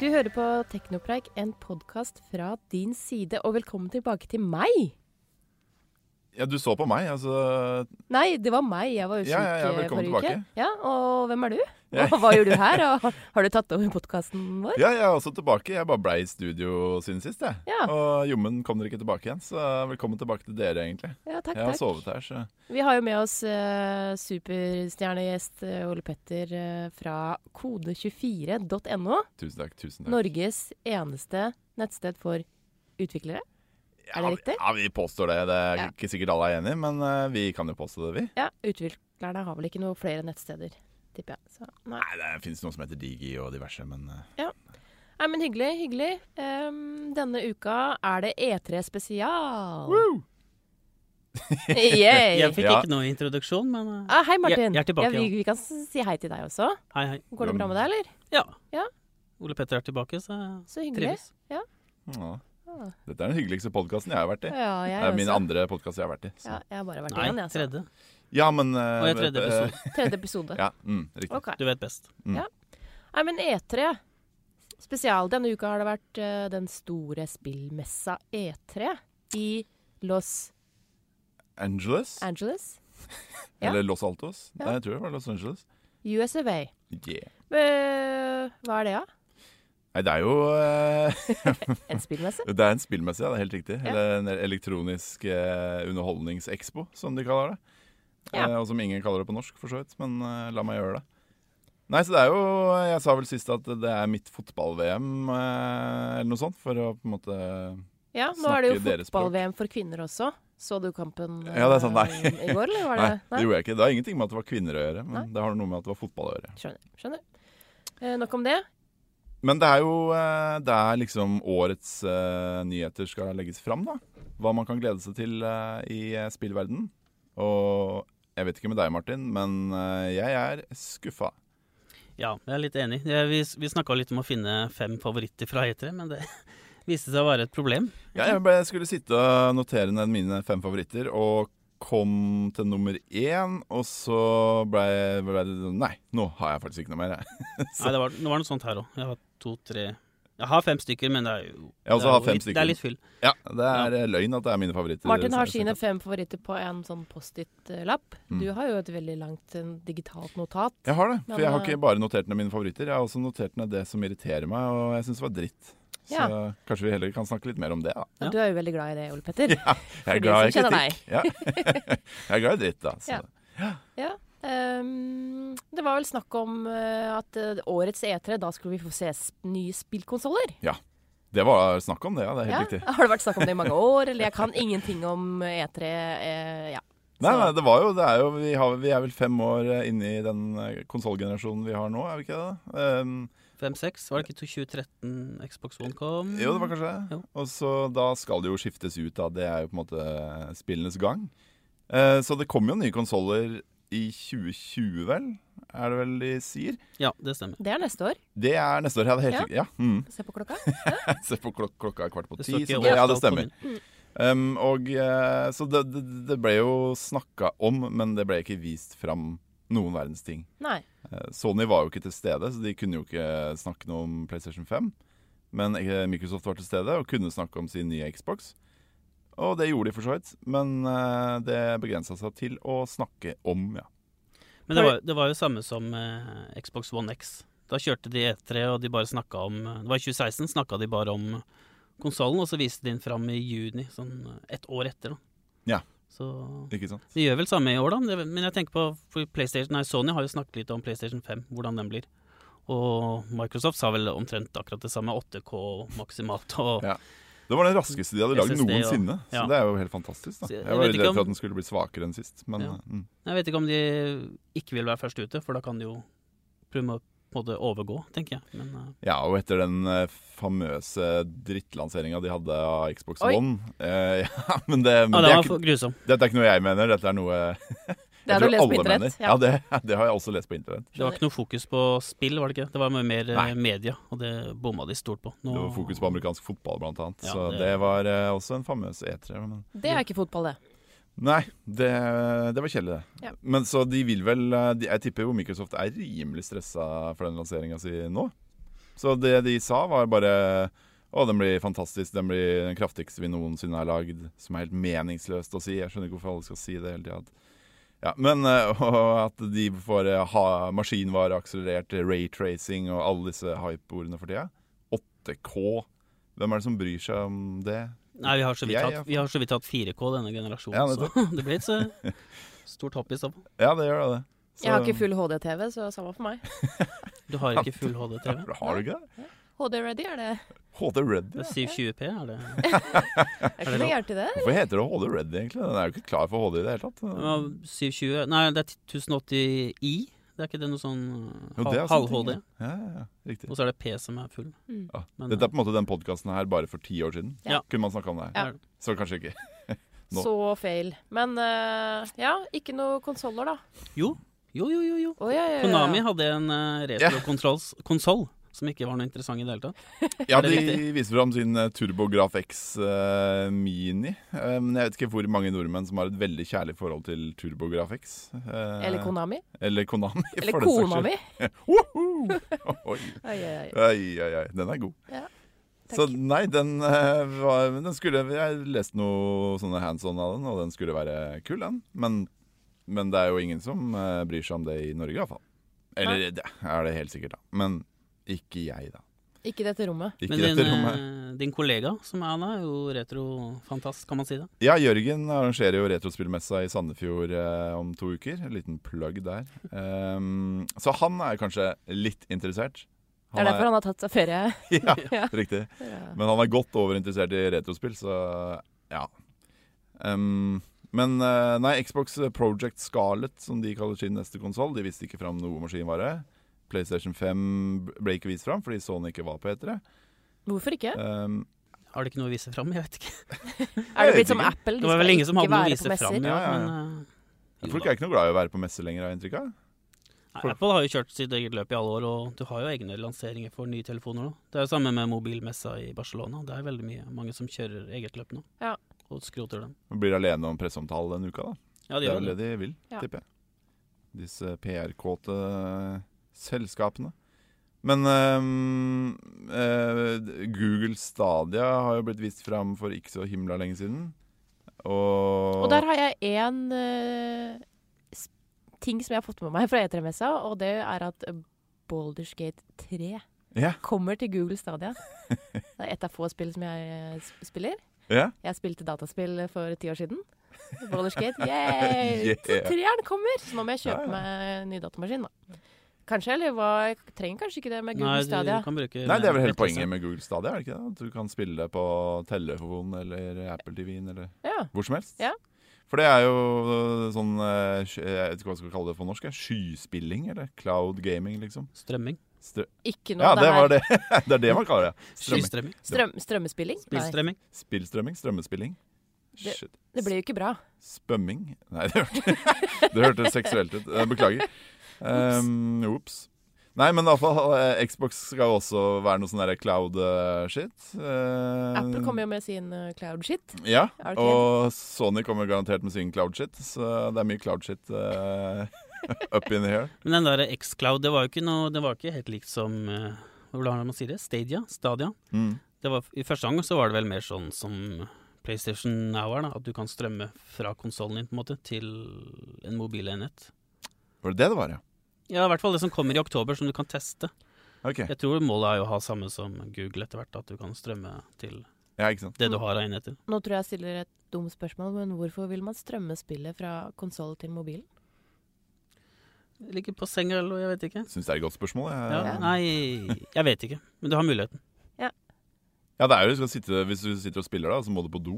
Du hører på Teknopreik, en podkast fra din side, og velkommen tilbake til meg. Ja, du så på meg, altså. Nei, det var meg. Jeg var jo syk Ja, ja, ja, eh, velkommen forrige uke. tilbake. Ja, Og hvem er du? Jeg- Og hva gjør du her? Og har du tatt over podkasten vår? Ja, jeg er også tilbake. Jeg bare blei i studio siden sist, jeg. Ja. Og jommen kom dere ikke tilbake igjen, så velkommen tilbake til dere, egentlig. Ja, takk, jeg har takk. sovet her, så Vi har jo med oss eh, superstjernegjest eh, Ole Petter eh, fra kode24.no. tusen takk. Tusen takk. Norges eneste nettsted for utviklere. Ja, er det riktig? Ja, vi påstår det. Det er Ja. ikke sikkert alle er enig, men eh, vi kan jo påstå det, vi. Ja, utviklerne har vel ikke noe flere nettsteder, tipper jeg. Så, nei. Nei, det fins noe som heter Digi og diverse, men eh, Nei, men hyggelig, hyggelig. Ehm, denne uka er det E3 spesial. Jeg Yay! fikk Ja. ikke noe introduksjon, men eh, Ah, hei, Martin. Jeg- jeg er tilbake, vi, vi kan s- si hei til deg også. hei, hei. Går det bra med deg, eller? Ja. Ja. Ole Petter er tilbake, så eh, jeg Så hyggelig. trives. ja. Ah. Dette er den hyggeligste podkasten jeg har vært i. Ja, jeg Det er min også. andre podkast jeg har vært i. Så. Ja, Ja. jeg har bare vært Nei, igjen, jeg. Altså. tredje. men eh, Og jeg er tredje episode. Tredje episode. Ja, mm, riktig. Ok. Du vet best. Nei, men E3 spesial. Denne uka har det vært eh, den store spillmessa E3 i Los Angeles? Angeles. ja. Eller Los Altos? Ja. Nei, jeg tror det var Los Angeles. US of A. Yeah. Eh, hva er det, da? Nei, det er jo eh, En spillmesse? Det er en spillmesse, ja. Det er helt riktig. Ja. Eller en elektronisk eh, underholdningsekspo, som de kaller det. Ja. Eh, og som ingen kaller det på norsk, for så vidt. Men eh, la meg gjøre det. Nei, så det er jo Jeg sa vel sist at det er mitt fotball-VM, eh, eller noe sånt, for å på en måte Ja, nå er det jo snakke deres språk. fotball-VM for kvinner også. Så du kampen eh, Ja, det er sant, nei. i går, eller var det Nei, det gjorde jeg ikke. Det har ingenting med at det var kvinner å gjøre, men Nei. det har noe med at det var fotball å gjøre. Skjønner. skjønner. Eh, nok om det. Men det er jo eh, Det er liksom årets eh, nyheter skal legges fram, da. Hva man kan glede seg til eh, i eh, spillverden. Og jeg vet ikke med deg, Martin, men eh, jeg er skuffa. Ja, jeg er litt enig. Jeg- Vi, vi snakka litt om å finne fem favoritter fra E3, men det viste seg å være et problem. Ja, jeg ble, skulle sitte og notere ned mine fem favoritter, og kom til nummer én, og så ble ble det sånn, Nei, nå har jeg faktisk ikke noe mer. Jeg, Nei, det var, det var noe sånt her òg. Jeg har to, tre Jeg har fem stykker, men det er jo jeg det også er har jo fem litt, Det er litt stykker. fyll. Ja, Det er eh, løgn at det er Mm. mine favoritter. Martin har Så- sine fem favoritter på en sånn Post-It-lapp. Du har jo et veldig langt eh, digitalt notat. Jeg har det. Men, For jeg har eh, ikke bare notert ned mine favoritter. Jeg har også notert ned det som irriterer meg, og jeg syns var dritt. Så Ja. kanskje vi heller kan snakke litt mer om det, da. Ja. Du er jo veldig glad i det, Ole Petter. Jeg For de er glad i som kjenner kritikk. Ja. jeg er glad i dritt, da. Så. Ja. Ja. ehm, det var vel snakk om eh, at eh, årets E3, da skulle vi få se sp nye spillkonsoller. Det var snakk om det, ja. Det er Ja. helt riktig. Har det vært snakk om det i mange år? Eller jeg kan ingenting om E3. eh, ja. Nei, Så- nei, det var jo, det er jo vi, har, vi er vel fem år eh, inne i den eh, konsollgenerasjonen vi har nå, er vi ikke det? da? Ehm, Fem-seks. Var det ikke 2013 Xbox One kom? jo, det var kanskje det. Jo. Og så da skal det jo skiftes ut, da. Det er jo på en måte spillenes gang. Eh, så det kommer jo nye konsoller i 2020, vel? Er det vel de sier? Ja, det stemmer. Det er neste år. Det er neste år, ja. Det er helt Ja. riktig. Ja. Mm. Se på klokka. Se på klok klokka er kvart på Det ti. står ikke så det, ja, det årstall på stemmer. min. Um, og, eh, så det, det, det ble jo snakka om, men det ble ikke vist fram noen verdens ting. Nei. Eh, Sony var jo ikke til stede, så de kunne jo ikke snakke noe om PlayStation 5. Men eh, Microsoft var til stede og kunne snakke om sin nye Xbox. Og det gjorde de for så vidt, men eh, det begrensa seg til å snakke om, ja. Men det var, det var jo samme som eh, Xbox One X. Da kjørte de E3, og de bare snakka om eh, Det var i 2016, snakka de bare om konsollen, og så viste de den fram i juni, sånn ett år etter, da. Ja. Så Ikke sant? de gjør vel samme i år, da. men det- Men jeg tenker på for PlayStation Nei, Sony har jo snakket litt om PlayStation 5, hvordan den blir. Og Microsoft sa vel omtrent akkurat det samme. 8K maksimalt og Ja. Det var den raskeste de hadde lagd SSD og- noensinne. Så ja. det er jo helt fantastisk. da. Så jeg- Jeg jeg var vet ikke redd for at om- den skulle bli svakere enn sist, men Ja. mm. Jeg vet ikke om de ikke vil være først ute, for da kan de jo prøve å på en måte overgå, tenker jeg. Men eh, Ja, og etter den eh, famøse drittlanseringa de hadde av Xbox Oi. One eh, Ja, men det, men ah, det den er var ikke, for grusom. dette er ikke noe jeg mener, dette er noe jeg Det har du tror lest på alle internett. mener. Ja, det, det har jeg også lest på internett. Det var ikke noe fokus på spill, var det ikke? Det var mye mer eh, Nei. media, og det bomma de stort på. Nå- Det var fokus på amerikansk fotball, blant annet. Ja, så det- det var eh, også en famøs E3. Men Det er ikke fotball, det. nei, det, det var kjedelig, det. Ja. Men så de vil vel eh, de, Jeg tipper jo Microsoft er rimelig stressa for den lanseringa si nå. Så det de sa, var bare Å, den blir fantastisk. Den blir den kraftigste vi noensinne har lagd. Som er helt meningsløst å si. Jeg skjønner ikke hvorfor alle skal si det hele tida. Ja, men eh, og at de får eh, ha maskinvare, akselerert raytracing og alle disse hype-ordene for tida. 8K. Hvem er det som bryr seg om det? Nei, vi har så vidt, Jeg er hatt, vi har så vidt hatt 4K denne generasjonen, Ja, så det blir et så stort hopp i så fall. Ja, det gjør da det. Jeg har ikke full HD-TV, så samme for meg. Du har ikke full HD-TV. Har du ikke det? HD-ready, er det HD Ready? Det er 720P, er det? Er ikke noe gærent i det? Hvorfor heter det HD Ready, egentlig? Den er jo ikke klar for HD i det hele tatt. Ja, 720 Nei, det er 1080i. Det er ikke det noe sånn Jo, det er sånne ting, halv-HD? Ja, ja, ja, riktig. Og så er det P som er full. Mm. Ja. Men, Dette er på en måte den podkasten her bare for ti år siden. Ja. Kunne man snakka om det her? eh, Ja. Så kanskje ikke. Nå. Så feil. Men eh, ja, ikke noe konsoller, da. Jo, jo, jo, jo. jo. Å, ja, ja, ja. Konami hadde en uh, retrokonsoll som ikke var noe interessant i det hele tatt. Ja, Er det De riktig? viser fram sin eh, TurboGraf X eh, Mini. Eh, Men jeg vet ikke hvor mange nordmenn som har et veldig kjærlig forhold til TurboGraf X. eh, Eller Konami. Eller Konami. Eller for den saks skyld. Konami. Woho! Oi, Ai, ai, ai. oi, oi, oi. Den er god. Ja, Så nei, den, eh, var, men den skulle Jeg leste noe sånne hands on av den, og den skulle være kul, den. Men, men det er jo ingen som eh, bryr seg om det i Norge, iallfall. Eller det er det helt sikkert, da. Men ikke jeg, da. Ikke i dette rommet. Ikke Men din, dette rommet. eh, din kollega som er han, er jo retrofantast, kan man si det. Ja, Jørgen arrangerer jo Retrospillmessa i Sandefjord eh, om to uker. En liten plugg der. Ehm, så han er kanskje litt interessert. Det er derfor han har tatt seg ferie. ja, Ja. riktig. Ja. Men han er godt overinteressert i retrospill, så ja. Ehm, men eh, nei, Xbox Project Scarlet, som de kaller sin neste konsoll, de viste ikke fram noe maskinvare. PlayStation 5 ble ikke vist fram fordi Sony ikke var på E etere. Hvorfor ikke? Um, Har det ikke noe å vise fram? Jeg vet ikke. Er det vet blitt som ikke. Apple? Det var vel ingen som hadde noe å være på vise fram. messer. Ja, Ja, ja, ja. men, eh, jo folk da. er ikke noe glad i å være på messe lenger, har jeg inntrykk av. Nei, Apple har jo kjørt sitt eget løp i alle år, og du har jo egne lanseringer for nye telefoner nå. Det er jo samme med mobilmessa i Barcelona. Det er veldig mye, mange som kjører eget løp nå, Ja. og skroter dem. Blir alene om presseomtale denne uka, da. Ja, de Det er gjør vel det. det de vil, Ja. tipper jeg. Disse PR-kåte selskapene. Men ehm, eh, Google Stadia har jo blitt vist fram for ikke så himla lenge siden. Og, Og der har jeg én ting som jeg har fått med meg fra E3-messa, og det er at Baldur's Gate 3 Ja, kommer til Google Stadia. Det er et av få spill som jeg eh, sp- spiller. ja. Jeg spilte dataspill for ti år siden. Baldur's Gate, yeah! Yeah. Så treeren kommer! Så nå må jeg Ja, kjøpe ja. meg ny datamaskin, da. Kanskje, eller hva? Jeg trenger kanskje ikke det med Google Nei, du Stadia. kan bruke Nei, det er vel hele nettleser. poenget med Google Stadia, er det ikke det? At du kan spille det på telefonen eller Apple TV-en eller Ja. hvor som helst. Ja. For det er jo øh, sånn øh, sky- Jeg vet ikke hva jeg skal kalle det på norsk. jeg. Skyspilling, eller cloud gaming, liksom. Strømming. Strø Ikke noe ja, av det var her. det. det er det man kaller det. Strømming. Skystrømming. Strøm, strømmespilling? Nei. Bilstrømming. Spillstrømming? Strømmespilling? Det- Shit. Det blir jo ikke bra. Spømming? Nei, det hørte, det hørte seksuelt ut. Eh, Beklager. Um, Ops. Nei, men iallfall eh, Xbox skal også være noe sånn der eh, cloud-shit. Apple kommer jo med sin eh, cloud shit. Ja, Arcade. Um, og Sony kommer garantert med sin cloud-shit, så det er mye cloud-shit eh, up in here. Men den der X-Cloud, det var jo ikke noe Det var ikke helt likt som eh, Hvordan er det man sier det? Stadia? Stadia. Mm. Det var, I første gang så var det vel mer sånn som PlayStation Now er, da. At du kan strømme fra konsollen din på en måte til en mobilenhet. Var det det det var, ja? Ja, i hvert fall det som kommer i oktober, som du kan teste. Ok. Jeg tror målet er jo å ha samme som Google etter hvert, at du kan strømme til Ja, ikke sant. det du har av enheter. Nå tror jeg jeg stiller et dumt spørsmål, men hvorfor vil man strømme spillet fra konsoll til mobilen? Ligger på senga eller noe, jeg vet ikke. Syns det er et godt spørsmål. Jeg. Ja, nei, jeg vet ikke. Men du har muligheten. Ja, det er jo du skal sitte, Hvis du sitter og spiller, da, så må du på do.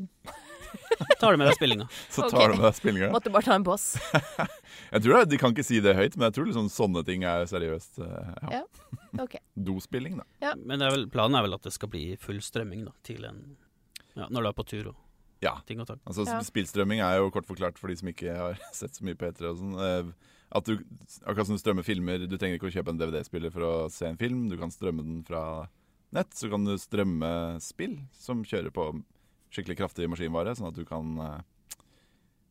Tar du med deg spillinga. Så tar Ok. du med deg spillinga. Måtte bare ta en boss. Jeg tror det, De kan ikke si det høyt, men jeg tror liksom sånne ting er seriøst. eh, Ja. Ja. Ok. Dospilling, da. Men det er vel, planen er vel at det skal bli full strømming da, til en ja, Når du er på tur og Ja. ting og tang. Altså, Ja. Spillstrømming er jo kort forklart for de som ikke har sett så mye på E3. og sånn, eh, At du, akkurat som du strømmer filmer, du trenger ikke å kjøpe en DVD-spiller for å se en film. Du kan strømme den fra nett. Så kan du strømme spill som kjører på skikkelig kraftig maskinvare, sånn at du kan eh,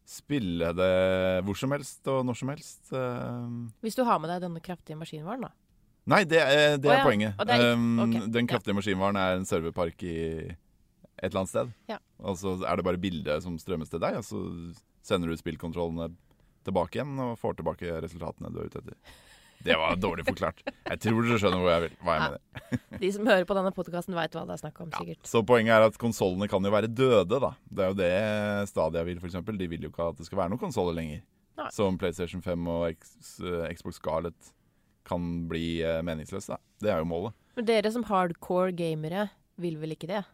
spille det hvor som helst og når som helst. eh, Hvis du har med deg denne kraftige maskinvaren, da. Nei, det, er- eh, det Å er ja, poenget. og det er ikke- Um, ok, Den ja. kraftige maskinvaren er en serverpark i et eller annet sted. Ja. Og så er det bare bildet som strømmes til deg, og så sender du spillkontrollene tilbake igjen og får tilbake resultatene du er ute etter. Det var dårlig forklart. Jeg tror dere skjønner hvor jeg vil, hva jeg Ja. mener. De som hører på denne podkasten, veit hva det er snakk om, sikkert. Så poenget er at konsollene kan jo være døde, da. Det er jo det Stadia vil, f.eks. De vil jo ikke at det skal være noen konsoller lenger. Nei. Som PlayStation 5 og X, eh, Xbox Scarlett kan bli eh, meningsløse, da. Det er jo målet. Men dere som hardcore gamere vil vel ikke det?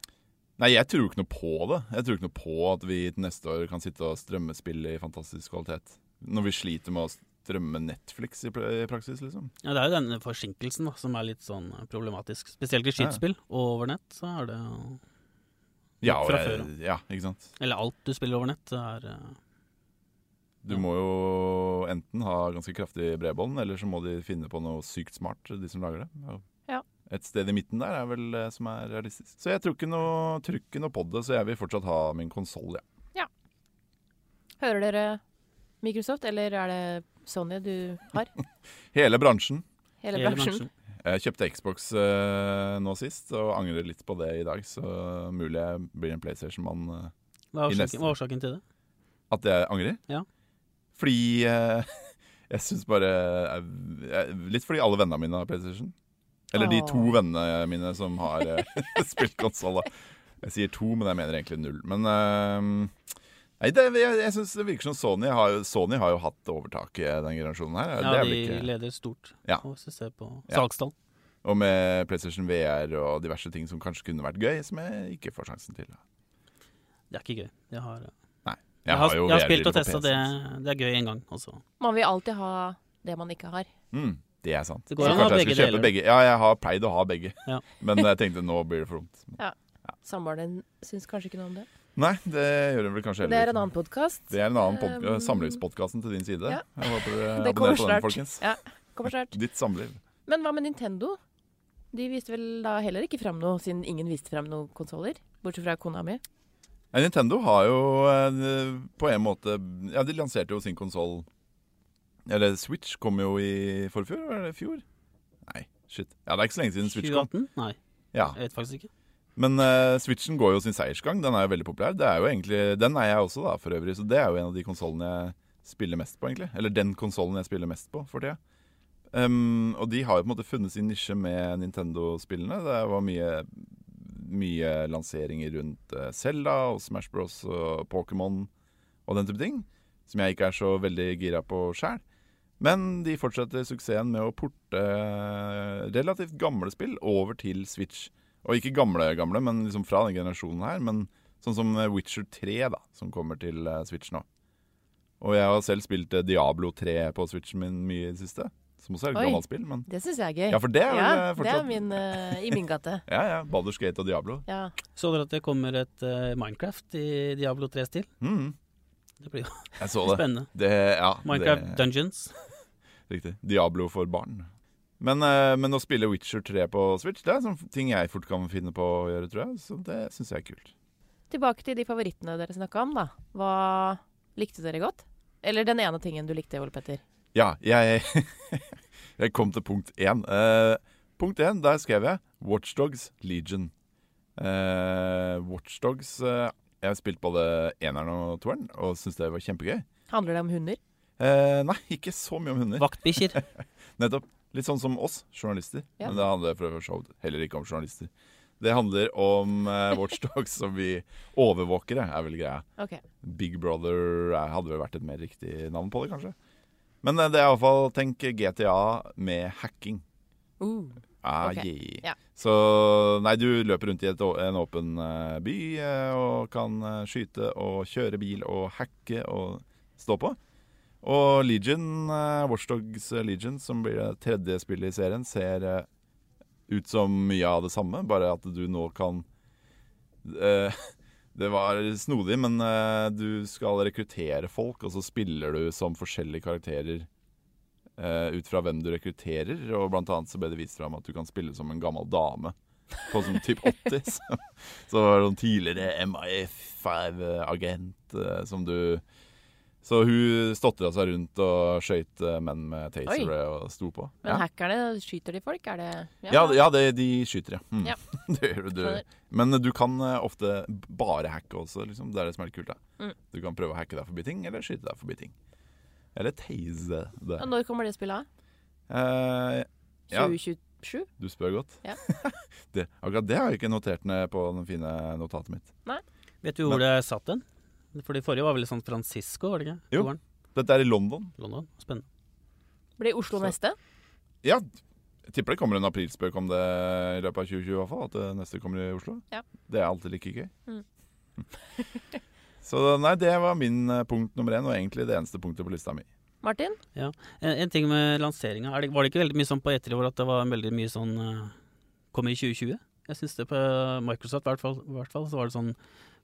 Nei, jeg tror ikke noe på det. Jeg tror ikke noe på at vi til neste år kan sitte og strømmespille i fantastisk kvalitet. Når vi sliter med å strømme Netflix i pra- i praksis, liksom. Ja, det er jo denne forsinkelsen da, som er litt sånn problematisk. Spesielt Ja. i skytespill og over nett. så er det jo- Ja, og Fra jeg- før, ja, ikke sant. Eller alt du spiller over nett, er eh, Du må jo enten ha ganske kraftig bredbånd, eller så må de finne på noe sykt smart, de som lager det. Og Ja. Et sted i midten der er vel eh, som er realistisk. Så jeg tror ikke noe, tror ikke noe på det, så jeg vil fortsatt ha min konsoll, ja. Hører dere Microsoft, eller er det Sony du har? Hele bransjen. Hele hele bransjen. bransjen. Jeg kjøpte Xbox eh, nå sist, og angrer litt på det i dag. Så mulig jeg blir en PlayStation-mann. eh. Hva er I neste. årsaken, hva er årsaken til det? At jeg angrer? Ja. Fordi eh, jeg syns bare eh, jeg, Litt fordi alle vennene mine har PlayStation. Eller de Åh. to vennene mine som har eh, spilt konsoll. da. Jeg sier to, men jeg mener egentlig null. Men eh, Nei, det, jeg, jeg synes det virker som Sony har, jo- Sony har jo hatt overtaket i den generasjonen her. det Ja, er vel de ikke... leder stort, Ja. og hvis du ser på Ja. salgstall. Og med PlayStation VR og diverse ting som kanskje kunne vært gøy, som jeg ikke får sjansen til. Det er ikke gøy. Jeg har, jeg Jeg har, har jo jeg har VR-briller spilt og på altså. testa PC, det. så- Det er gøy én gang altså. også. Man vil alltid ha det man ikke har. Mm, det er sant. Det Så går an å ha kanskje jeg begge skal kjøpe deler. begge. Ja, jeg har pleid å ha begge, Ja. men jeg tenkte nå blir det for dumt. Samboeren din syns kanskje ikke noe om det. Nei, det gjør det vel kanskje Det er en ikke. annen podkast. Det er en annen pod Um, samlivspodkasten til din side. ja. Jeg håper dere Det abonnerer kommer på den, snart. folkens. Ja, kommer snart. Ditt samliv. Men hva med Nintendo? De viste vel da heller ikke fram noe, siden ingen viste fram noen konsoller. Bortsett fra kona mi. Nei, Nintendo har jo eh, på en måte Ja, de lanserte jo sin konsoll Eller Switch kom jo i forfjor, var det i fjor? Nei, shit. Ja, det er ikke så lenge siden Switch kom. 2018? Nei, Ja, jeg vet faktisk ikke. Men eh, Switchen går jo sin seiersgang. Den er jo veldig populær. Det er jo egentlig, Den er jeg også, da, for øvrig. Så det er jo en av de konsollene jeg spiller mest på, egentlig. Eller den konsollen jeg spiller mest på for tida. Ehm, og de har jo på en måte funnet sin nisje med Nintendo-spillene. Det var mye, mye lanseringer rundt eh, Zelda og Smash Bros og Pokémon og den type ting. Som jeg ikke er så veldig gira på sjæl. Men de fortsetter suksessen med å porte eh, relativt gamle spill over til Switch. Og ikke gamle, gamle, men liksom fra den generasjonen her. Men sånn som eh, Witcher 3, da, som kommer til eh, Switch nå. Og jeg har selv spilt eh, Diablo 3 på Switchen min mye i det siste. Som også er et Oi. gammelt spill, men Det syns jeg er gøy. Ja, for det er vel Ja, eh, det er fortsatt min, eh, i min gate. Ja, ja. Baldur's Gate og Diablo. Ja. Så dere at det kommer et eh, Minecraft i Diablo 3-stil? Mhm, Det blir jo jeg så det. spennende. det ja, Minecraft det, Dungeons. riktig. Diablo for barn. Men, eh, men å spille Witcher 3 på Switch, det er sånne ting jeg fort kan finne på å gjøre, tror jeg. Så det syns jeg er kult. Tilbake til de favorittene dere snakka om, da. Hva likte dere godt? Eller den ene tingen du likte, Ole Petter. Ja, jeg, jeg kom til punkt én. Eh, punkt én, der skrev jeg Watchdogs Legion. Uh, Watchdogs uh, Jeg har spilt både eneren og toeren og syns det var kjempegøy. Handler det om hunder? Eh, nei, ikke så mye om hunder. Vaktbikkjer. Nettopp. Litt sånn som oss, journalister. Ja. Men det handler for så vidt heller ikke om journalister. Det handler om eh, Watchdogs som vi overvåkere, er vel greia. Ok. Big Brother eh, hadde vel vært et mer riktig navn på det, kanskje. Men eh, det er iallfall Tenk GTA med hacking. Uh. Ah, Ok, yeah. ja. Så Nei, du løper rundt i et, å- en åpen eh, by eh, og kan eh, skyte og kjøre bil og hacke og stå på. Og Legion, eh, Watchdogs Legion, som blir det tredje spillet i serien, ser eh, ut som mye av det samme, bare at du nå kan eh, Det var snodig, men eh, du skal rekruttere folk, og så spiller du som forskjellige karakterer eh, ut fra hvem du rekrutterer. Og blant annet så ble det vist fram at du kan spille som en gammel dame på sånn typ 80. Så, så var det sånn tidligere MIF5-agent som eh, du Så hun stotra seg rundt og skøyt eh, menn med tasere og sto på. Men Ja. hackerne, skyter de folk? Er det Ja, ja det, de skyter, ja. Mm. Ja. det gjør du. Skjønner. Men du kan eh, ofte bare hacke også, liksom. Det er det som er litt kult. da. Mm. Du kan prøve å hacke deg forbi ting, eller skyte deg forbi ting. Eller tase det. Ja, Når kommer det spillet av? Eh, ja, 2027? du spør godt. Ja. det, akkurat det har jeg ikke notert ned på det fine notatet mitt. Vet du hvor det satt den? For de forrige var vel i San Francisco, var det ikke? Jo. Toeren. Dette er i London. London. Spennende. Blir Oslo Så- neste? Ja, jeg tipper det kommer en aprilspøk om det i løpet av 2020 i hvert fall. At det neste kommer i Oslo. Ja. Det er alltid like gøy. Mm. Så nei, det var min eh, punkt nummer én, og egentlig det eneste punktet på lista mi. Martin? Eh, En, en ting med lanseringa. Var det ikke veldig mye sånn på E3 hvor at det var veldig mye sånn eh, Kommer i 2020? Jeg syns det på Microsoft i hvert fall, i hvert fall så var det sånn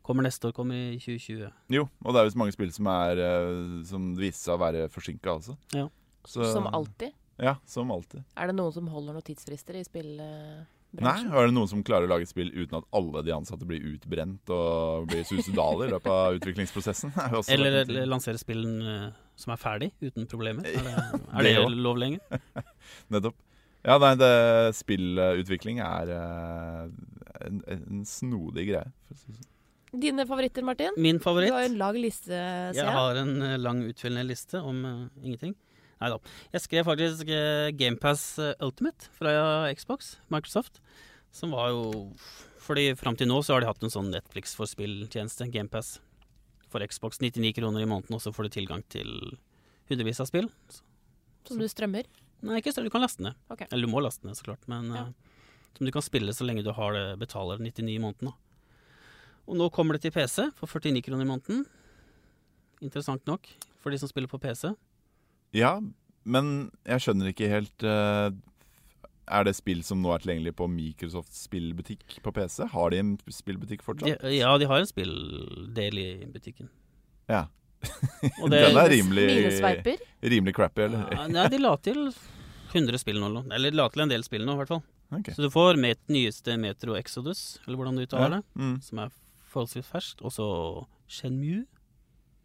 Kommer neste år, kommer i 2020. Jo, og det er jo så mange spill som, er, eh, som viser seg å være forsinka, altså. Ja. Så- Som alltid. Ja, som alltid. Er det noen som holder noen tidsfrister i Nei, spillbransjen? er det noen som klarer å lage et spill uten at alle de ansatte blir utbrent og blir suicidale i løpet av utviklingsprosessen? Det er jo også Eller, en ting. eller lansere spillen eh, som er ferdig, uten problemer. Er det, er det, Det også. lov lenger? Nettopp. Ja, nei, det, spillutvikling er eh, en, en snodig greie. For å si det sånn. Dine favoritter, Martin? Min favoritt Du har jo en lang liste, ser Jeg jeg. har en eh, lang utfyllende liste om eh, ingenting. Nei da. Jeg skrev faktisk uh, GamePass Ultimate fra Xbox, Microsoft. Som var jo Fordi fram til nå så har de hatt en sånn Netflix for spill-tjeneste, GamePass. For Xbox 99 kroner i måneden, og så får du tilgang til hundrevis av spill. Så- Som du strømmer. Nei, ikke så, du kan laste ned. Ok. Eller du må laste ned, så klart. Men Ja. eh, som du kan spille så lenge du har det, betaler 99 i måneden. Da. Og nå kommer det til PC for 49 kroner i måneden. Interessant nok for de som spiller på PC. sånn. Ja, men jeg skjønner ikke helt eh, Er det spill som nå er tilgjengelig på Microsofts spillbutikk på PC? Har de en spillbutikk De, fortsatt? ja, de har en spilldel i butikken. Ja. Og Den er rimelig, Minesveiper. rimelig crappy, eller? Ja, Nei, de la til 100 spill nå. eller noe. Eller la til en del spill nå, i hvert fall. Ok. Så du får met, nyeste Metro Exodus, eller hvordan du uttaler det, Mm, som er forholdsvis ferskt. Og så Shenmue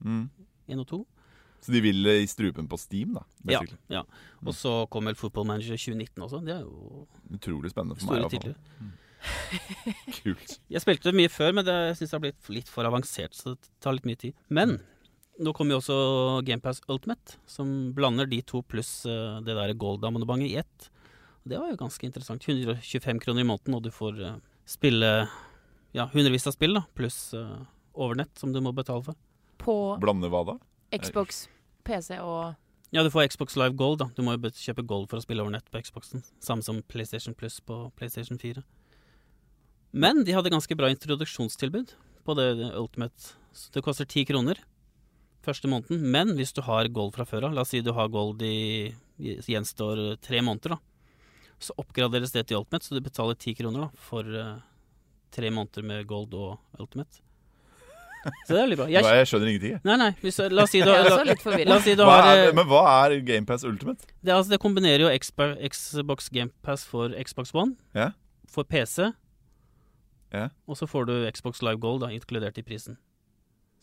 mm. 1 og 2. Så de vil eh, i strupen på Steam, da? Ja, basically. ja. Mm. Og så kom vel Football Manager 2019 også. Det er jo Utrolig spennende for store meg. i hvert titler. fall. Kult. Jeg spilte det mye før, men det, jeg syns det har blitt litt for avansert, så det tar litt mye tid. Men Mm. nå kommer jo også GamePass Ultimate, som blander de to pluss eh, det der Gold-abonnementet i ett. Og Det var jo ganske interessant. 125 kroner i måneden, og du får eh, spille ja, hundrevis av spill, da, pluss eh, overnett, som du må betale for. På Blande hva da? Xbox, PC og Ja, du får Xbox Live Gold, da. Du må jo bet- kjøpe Gold for å spille over nett på Xboxen. Samme som PlayStation Plus på PlayStation 4. Men de hadde ganske bra introduksjonstilbud på det Ultimate. Så Det koster ti kroner første måneden, men hvis du har Gold fra før av, la oss si du har Gold i i- gjenstår tre måneder, da. Så oppgraderes det til Ultimate, så du betaler ti kroner da, for eh, tre måneder med Gold og Ultimate. Så det er veldig bra. Nå, Jeg, Jeg skjønner ingenting. jeg. nei, nei, hvis, la oss si du Jeg er la, også litt la forvirra. oss si du Hva har eh, er, men hva er GamePass Ultimate? det, altså, det kombinerer jo Xbox, Xbox GamePass for Xbox One, Ja. for PC, Ja. og så får du Xbox Live Gold da, inkludert i prisen.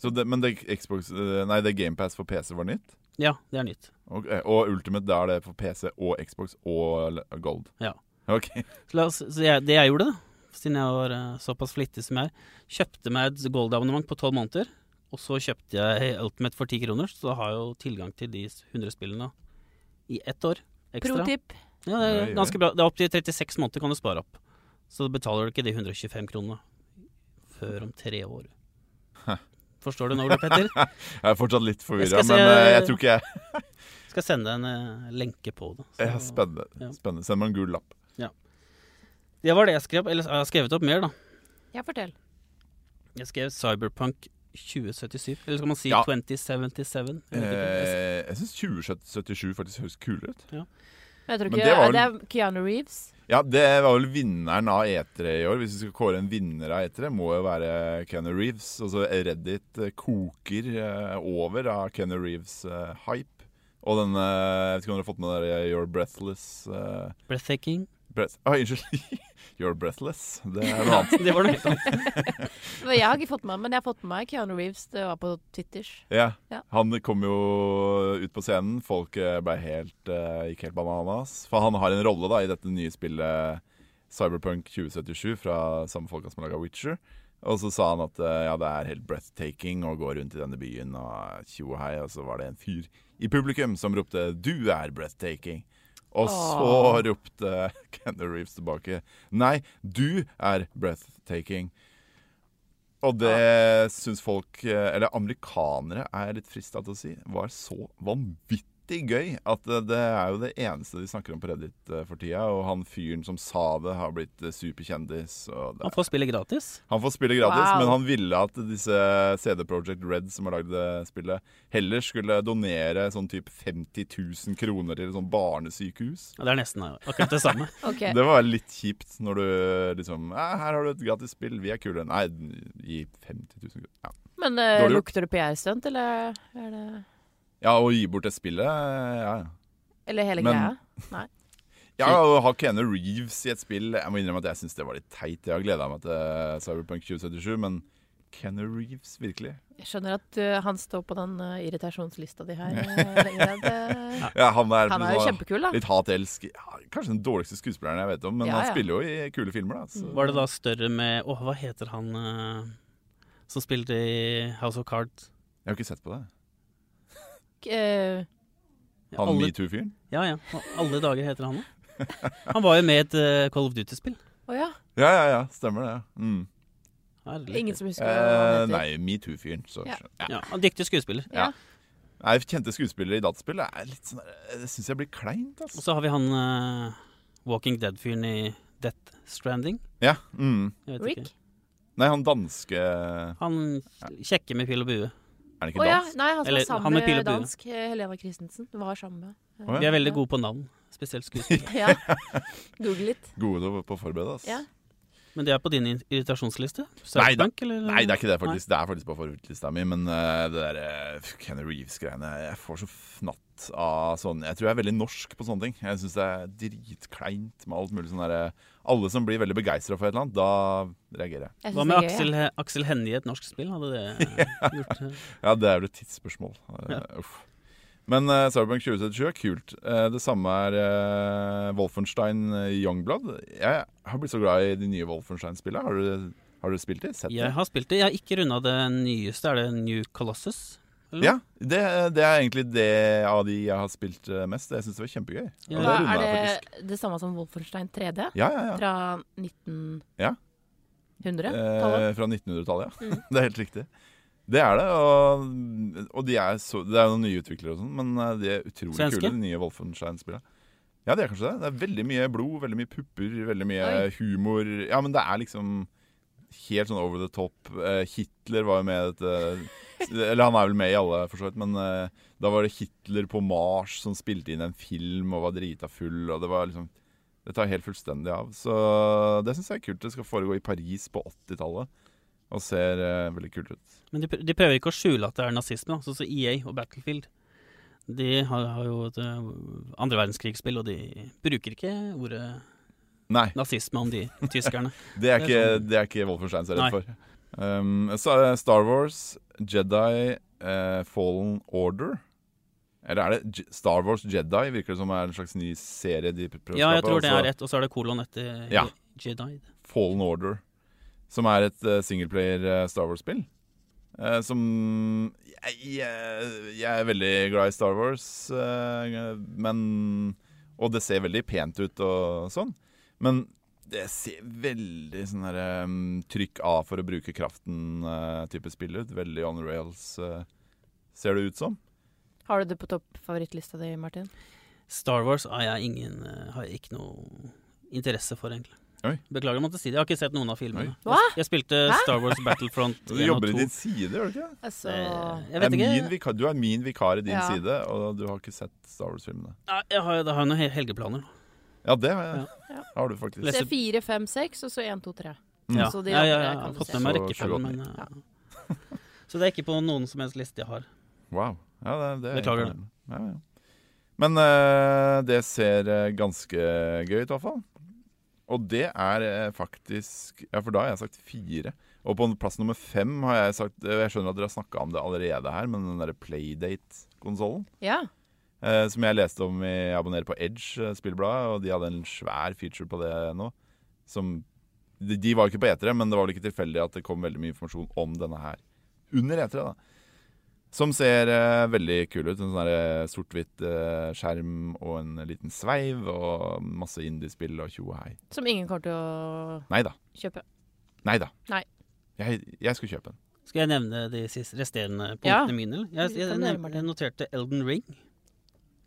Så det, men det, Xbox, eh, nei, det GamePass for PC var nytt? Ja, det er nytt. Og, eh, og Ultimate, da er det for PC og Xbox og l- Gold? Ja. Ok. Så, la oss, så jeg, det jeg gjorde, da, siden jeg var eh, såpass flittig som jeg er, kjøpte meg et Gold-abonnement på tolv måneder. Og så kjøpte jeg Ultimate for ti kroner, så da har jeg jo tilgang til de 100 spillene i ett år ekstra. Pro tip. Ja, det Oi, er oi. ganske bra. Det er opptil 36 måneder kan du spare opp. Så betaler du ikke de 125 kronene før om tre år. Forstår du nå, Ole Petter? Jeg er fortsatt litt forvirra, Jeg skal se- men eh, jeg tror ikke jeg Skal sende en eh, lenke på det. jeg er Så- Spennende. Ja. spennende. Send meg en gul lapp. Det var det jeg skrev. Eller jeg har skrevet opp mer, da. Ja, fortell. Jeg skrev Cyberpunk 2077. Eller skal man si Ja. 2077? Jeg vet ikke. Eh, jeg syns 2077 faktisk høres kulere ut. Men jeg tror Men ikke det det, var det er Keanu Reeves. Ja, det var vel vinneren av E3 i år. Hvis vi skal kåre en vinner av E3, må jo være Kenny Reeves. Altså Reddit eh, koker eh, over av Kenny eh, Reeves-hype. Og denne Jeg vet ikke om dere har fått med dere You're Breathless. eh, Breathtaking. Breath... Ah, unnskyld. You're breathless. Det er noe annet. Det var noe helt annet. Men Jeg har ikke fått med meg men jeg har fått med meg Keanu Reeves. Det var på Twitters. Ja. Ja. Han kom jo ut på scenen. Folk eh, ble helt, eh, gikk helt bananas. For han har en rolle da i dette nye spillet Cyberpunk 2077 fra samme folka som laga Witcher. Og så sa han at eh, ja, det er helt breathtaking å gå rundt i denne byen og tjo og hei. Og så var det en fyr i publikum som ropte 'du er breathtaking'. Og så Åh. ropte Kenner Reeves tilbake 'nei, du er breathtaking'. Og det syns folk, eh, eller amerikanere er litt frista til å si, var så vanvittig gøy at eh, det er jo det eneste de snakker om på Reddit eh, for tida. Og han fyren som sa det, har blitt eh, superkjendis. Og det Han får spille gratis. han får spille gratis, Wow. men han ville at disse CD Projekt Red som har lagd det spillet, heller skulle donere sånn type 50 000 kroner til et sånt barnesykehus. Ja, det er nesten akkurat det samme. Ok, Det var litt kjipt når du liksom «Eh, 'Her har du et gratis spill, vi er kule'. Nei, gi 50 000 kroner. Ja. Men eh, Dårlig gjort. lukter det PR-stunt, eller er det ja, og gi bort det spillet, eh, ja. ja. Eller hele Men- greia? Ja, og ha Keanu Reeves i et spill Jeg må innrømme at jeg syns det var litt teit. Jeg har gleda meg til eh, Cyberpunk 2077, men Keanu Reeves, virkelig? Jeg skjønner at eh, han står på den eh, irritasjonslista di her. eh, lenge. Det- Ja, han er, Han er jo kjempekul, da. Litt hat-elsk. Ja, kanskje den dårligste skuespilleren jeg vet om, men Ja, ja. Mm. han spiller jo i kule filmer, da. Så. Var det da større med Åh, hva heter han eh, som spilte i House of Cards? Jeg har ikke sett på det. Eh, Ja, Han alle, metoo-fyren? ja, ja. Hva- Alle dager heter han da. Han var jo med i et eh, Call of Duty-spill. Å ja. Ja, ja, ja. Stemmer det. ja. Mm. Ja, det er litt- Ingen som husker Eh, hva han heter. nei, metoo-fyren. Så Ja. ja. Ja, han er Dyktig skuespiller. Ja. Nei, Kjente skuespillere i dataspill det er litt sånn der- Det syns jeg blir kleint, Og altså. så har vi han eh, Walking Dead-fyren i Death Stranding. Ja. Mm. Jeg vet Rick? Ikke. Nei, han danske Er Han kjekke med pil og bue. han ikke Å ja. dansk? Nei, han som Eller var sammen han med pil med og bue. dansk eh, Helena Christensen. Var sammen med. eh. Å, ja. Vi er veldig gode på navn, spesielt skuespillere. Ja. Google litt. Gode til å- på å forberede, altså. Ja. Men det er på din ir- irritasjonsliste? Nei, da- Cyberpunk, eller? Nei, det er ikke det, faktisk. Det er faktisk på forhudlista mi, men eh, det der eh, Kenny Reeves-greiene Jeg får så fnatt av sånn Jeg tror jeg er veldig norsk på sånne ting. Jeg syns det er dritkleint med alt mulig sånn derre Alle som blir veldig begeistra for et eller annet, da reagerer jeg. Jeg Hva synes med det er gøy, Aksel, Aksel Hennie i et norsk spill? Hadde det gjort eh, Ja, det er jo et tidsspørsmål. Eh, Ja. Uff. Men eh, Cyberpunk 2077 er kult. Eh, det samme er eh, Wolfenstein eh, Youngblood. Jeg har blitt så glad i de nye Wolfenstein-spillene. Har, du- har du spilt de? Sett de? Jeg har spilt det. Jeg har ikke runda det nyeste. Er det New Colossus? Mm. eller? Ja, det, det er egentlig det av de jeg har spilt eh, mest. Jeg syns det var kjempegøy. Ja. Og ja. Hva rundet er jeg faktisk. det det samme som Wolfenstein 3D? Ja, ja, ja. Fra 1900? Ja. tallet Mm. Eh, fra 1900-tallet, ja. Det er helt riktig. Det er det. Og, og de er så, det er jo noen nye utviklere og sånn, men eh, de er utrolig Svenske? kule, de nye Wolfenstein-spillene. Ja, de er kanskje det. Det er veldig mye blod, veldig mye pupper, veldig mye Oi. humor. Ja, men det er liksom helt sånn over the top. Eh, Hitler var jo med i dette eh, Eller han er vel med i alle, for så vidt, men eh, da var det Hitler på Mars som spilte inn en film og var drita full, og det var liksom Det tar helt fullstendig av. Så det syns jeg er kult. Det skal foregå i Paris på 80-tallet, og ser eh, veldig kult ut. Men de, pr- de prøver ikke å skjule at det er nazisme, da. sånn som EA og Battlefield. De har, har jo et eh, andre verdenskrigsspill, og de bruker ikke ordet Nei, nazisme om de tyskerne. det er Det er ikke, sånn- det er ikke Wolfenstein så Nei. redd for. Um, så er det Star Wars, Jedi, eh, Fallen Order. Eller er det Je- Star Wars Jedi? Virker det som er en slags ny serie de prøver å Ja, jeg skape, tror det og så- er rett. Og så er det kolon etter Ja. Jedi. Fallen Order, som er et eh, singleplayer eh, Star Wars-spill. Eh, som jeg, jeg, jeg er veldig glad i Star Wars, eh, men Og det ser veldig pent ut og sånn, men det ser veldig sånn her eh, trykk A for å bruke kraften-type spill ut. Veldig on rails, eh, ser det ut som. Har du det på topp favorittlista di, Martin? Star Wars har jeg ingen eh, Har jeg ikke noe interesse for, egentlig. Oi. Beklager om jeg måtte si det. Jeg har ikke sett noen av filmene. Hva? Jeg spilte Star Wars Battlefront Du 1 og jobber i 2. din side, gjør du ikke? Altså Eh, Jeg Det vet er ikke. min vikar, du er min vikar i din Ja. side, og du har ikke sett Star Wars-filmene. Ja, jeg har, jeg har noen hel- helgeplaner. da. Ja, det har, jeg, Ja. har du faktisk. Se Lese- fire, fem, seks, og så én, to, tre. Mm. Ja. Så de ja, ja, andre ja, kan jeg har du fått se. med meg Så rekkefølgen, men eh, Så det er ikke på noen som helst liste jeg har. Wow. Ja, det, det er Beklager det. imponerende. Ja, ja. Men eh, det ser eh, ganske gøy ut, i hvert fall. Og det er eh, faktisk Ja, for da har jeg sagt fire. Og på plass nummer fem har jeg sagt eh, Jeg skjønner at dere har snakka om det allerede her, men den derre Playdate-konsollen Ja. eh, som jeg leste om i Abonner på Edge, eh, spillbladet, og de hadde en svær feature på det nå. Som De, de var jo ikke på etere, men det var vel ikke tilfeldig at det kom veldig mye informasjon om denne her under etere, da. Som ser eh, veldig kul ut. En sånn der, eh, sort-hvitt eh, skjerm og en liten sveiv og masse indiespill og tjo og hei. Som ingen kommer til å Nei da. kjøpe. Nei da. Nei. Jeg, jeg skulle kjøpe den. Skal jeg nevne de siste resterende punktene Ja. mine? Eller? Jeg, Du jeg, kan nev- nevne det. jeg noterte Elden Ring.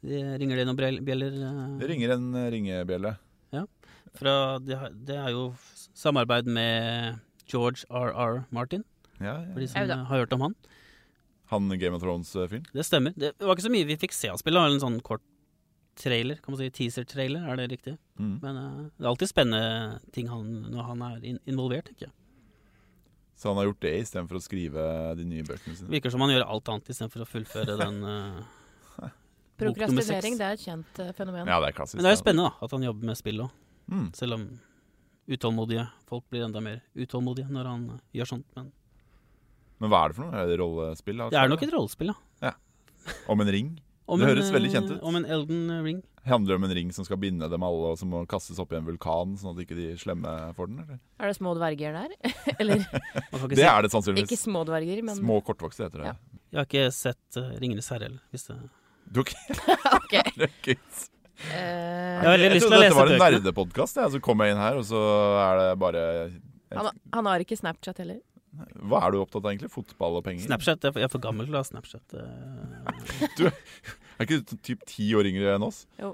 De, ringer det noen brel- bjeller? eh, Det ringer en eh, ringebjelle. Fra, det, har- det er jo s- samarbeid med George R.R. Martin, Ja, for de ja. som Au da. eh, har hørt om han. Han Game of Thrones-fyren. Det stemmer. Det var ikke så mye vi fikk se av spillet. det var En sånn kort trailer, kan man si. Teaser-trailer, er det riktig? Mm. Men eh, det er alltid spennende ting han, når han er in involvert, tenker jeg. Så han har gjort det istedenfor å skrive de nye bøkene sine. Virker som han gjør alt annet istedenfor å fullføre den. eh. Bok nummer seks. Prokrastinering, det er et kjent eh, fenomen. Ja, det er klassisk. Men det er da. jo spennende da, at han jobber med spill òg. Mm. Selv om utålmodige folk blir enda mer utålmodige når han eh, gjør sånt. Men Men hva er det for noe? Er det rollespill? altså? det er nok et rollespill, ja. Om en ring? Om Det en, høres veldig kjent eh, ut. Om en Elden Ring. Handler det om en ring som skal binde dem alle, og som må kastes opp i en vulkan, sånn at ikke de slemme får den? Eller? Er det små dverger der? Eller Man kan ikke Det si. er det ikke sannsynligvis. små dverger, men Små kortvokste heter det. Ja. Jeg har ikke sett eh, Ringenes herre heller. Hvis det... Du har ikke OK. det er ikke- Eh, Jeg har veldig Jeg lyst til trodde å dette lese var en bøkene. nerdepodkast, jeg, og så kom jeg inn her, og så er det bare han, han har ikke Snapchat heller. Hva er du opptatt av egentlig? Fotball og penger? Snapchat, jeg er for- jeg er for gammel til å ha Snapchat. eh. Er ikke du typ ti år yngre enn oss? Og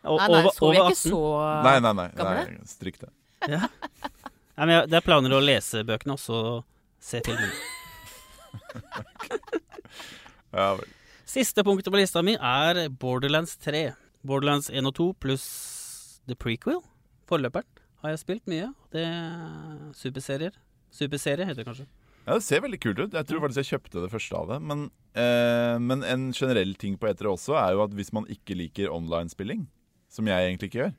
Ah, Nei, nei, over, så vi over er ikke 18. så Nei, nei, nei. gamle? nei Stryk det. Nei, men jeg, det er planer å lese bøkene og så se filmene. Ja, vel. Siste punktet på lista mi er Borderlands 3. Borderlands 1 og 2 pluss The Prequel, forløperen, har jeg spilt mye. Det er superserier. Superserie heter det kanskje. Ja, Det ser veldig kult ut. Jeg tror faktisk jeg kjøpte det første av det. Men, eh, men en generell ting på etere også er jo at hvis man ikke liker online-spilling, som jeg egentlig ikke gjør,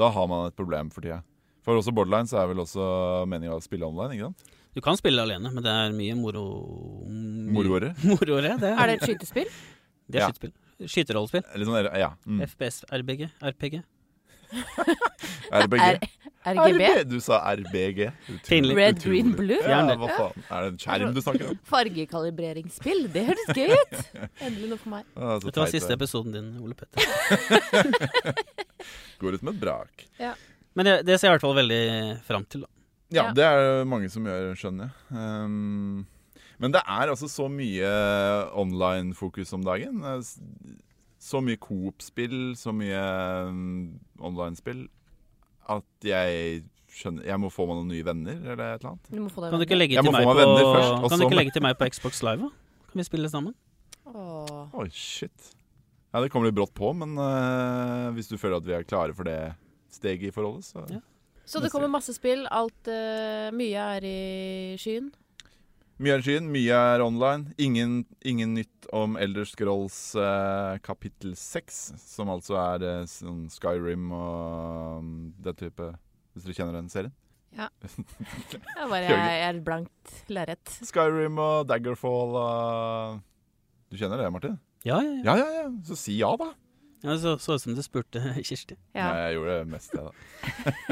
da har man et problem for tida. For også borderline så er vel også meninga å spille online, ikke sant? Du kan spille alene, men det er mye moro... Mm. Moroere. Moroere, det Er det et skytespill? Det er Ja. skytespill. Skyterollespill. Eller sånn, ja. Mm. FPS, RBG, RPG. RBG. R RGB? Du sa RBG. Utrolig- Pinlig. Red, utrolig. green, blue? Ja, hva faen. Er det en skjerm du snakker om? Fargekalibreringspill, det høres gøy ut! Endelig noe for meg. Ah, så Dette var teit siste det er. episoden din, Ole Petter. Går ut med et brak. Men det, det ser jeg i hvert fall veldig fram til. da. Ja, Ja. det er det mange som gjør, skjønner jeg. Ehm, men det er altså så mye online-fokus om dagen. Eh, s- Så mye Coop-spill, så mye ehm, online-spill, at jeg skjønner Jeg må få meg noen nye venner, eller et eller annet. Du må få deg Kan du ikke legge Jeg til må meg få meg venner først, på og Kan så- du ikke legge til meg på Xbox Live, da? Kan vi spille sammen? Åh. Oi, shit. Ja, det kommer litt brått på, men eh, hvis du føler at vi er klare for det steget i forholdet, så Ja. Så det kommer masse spill. Alt eh, Mye er i skyen. Mye er i skyen, mye er online. Ingen, ingen nytt om Elder Scrolls eh, kapittel 6, som altså er eh, sånn Skyrim og mm, den type Hvis dere kjenner den serien? Jeg bare jeg er et blankt lerret. Skyrim og Daggerfall og Du kjenner det, Martin? Ja, ja, ja. Ja, ja, ja. Så si ja, da. ja så så ut som du spurte Kirsti. Ja. Nei, jeg gjorde det mest, jeg, da.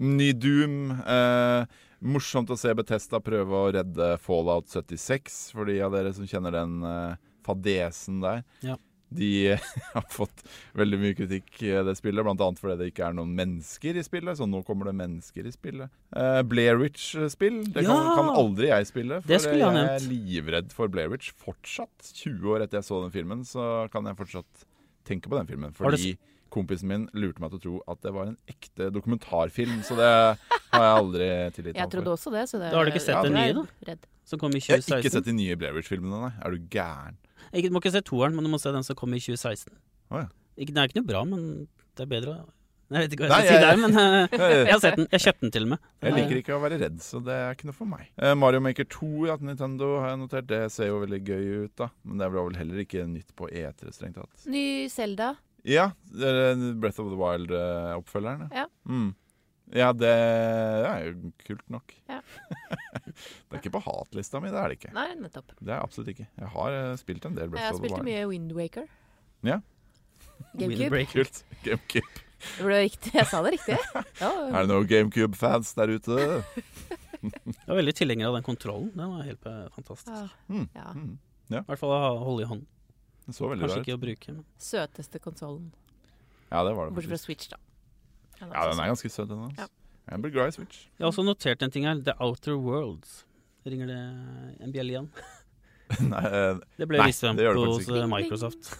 Ny Doom. Eh, morsomt å se Betesta prøve å redde Fallout 76, for de av dere som kjenner den eh, fadesen der. Ja. De har fått veldig mye kritikk, eh, det spillet, bl.a. fordi det ikke er noen mennesker i spillet. Så nå kommer det mennesker i spillet. Eh, Blairwich-spill, det kan, Ja! kan aldri jeg spille. For Det skulle jeg ha er livredd for Blairwich fortsatt. 20 år etter jeg så den filmen, så kan jeg fortsatt tenke på den filmen. Har du Fordi kompisen min lurte meg til å tro at det var en ekte dokumentarfilm, så det har jeg aldri tilgitt Jeg ham for. trodde også det. Så det Da har du ikke sett Ja, det jeg nye, er Redd. Som kom i Jeg har ikke 2016. sett de nye Blairwich-filmene, nei. Er du gæren? Ikke, du må ikke se toeren, men du må se den som kom i 2016. Å, ja. ikke, den er ikke noe bra, men det er bedre å Jeg vet ikke hva Nei, jeg skal jeg- si der, men eh, jeg Jeg har sett den. Jeg kjøpte den til og med. liker ikke å være redd, så det er ikke noe for meg. Eh, Mario Maker 2 ja, til Nintendo har jeg notert. Det ser jo veldig gøy ut, da. Men det var vel heller ikke nytt på E3, strengt tatt. Ny Selda. eh, Ja, det er Breath of the Wild-oppfølgeren. Ja. Mm. Ja, det er jo kult nok. Ja. det er ikke på hatlista mi, det er det ikke. Nei, nettopp. Det er absolutt ikke. Jeg har eh, spilt en del Breath Jeg of the spilte Wild. mye Windwaker. Ja. GameCube. Windbreaker. Kult. GameCube. Det ble riktig. Jeg sa det riktig. Ja, Er det noen GameCube-fans der ute? Jeg var veldig tilhenger av den kontrollen. Den var helt eh, fantastisk. ja. Mm. ja. Mm. I hvert fall å ha- holde i hånden. Det så veldig Kanskje rar ut. ikke å bruke, men Søteste konsollen. Ja, det var det. Bortsett fra faktisk. Switch, da. Den Ja, den er ganske søt, den. Ja. Altså. Jeg blir glad i Switch. Jeg har også notert en ting her. The Outer Worlds. Ringer det en bjelle igjen? Nei, eh, Det ble Nei, vist frem det gjør det på faktisk hos ikke. eh, Microsoft.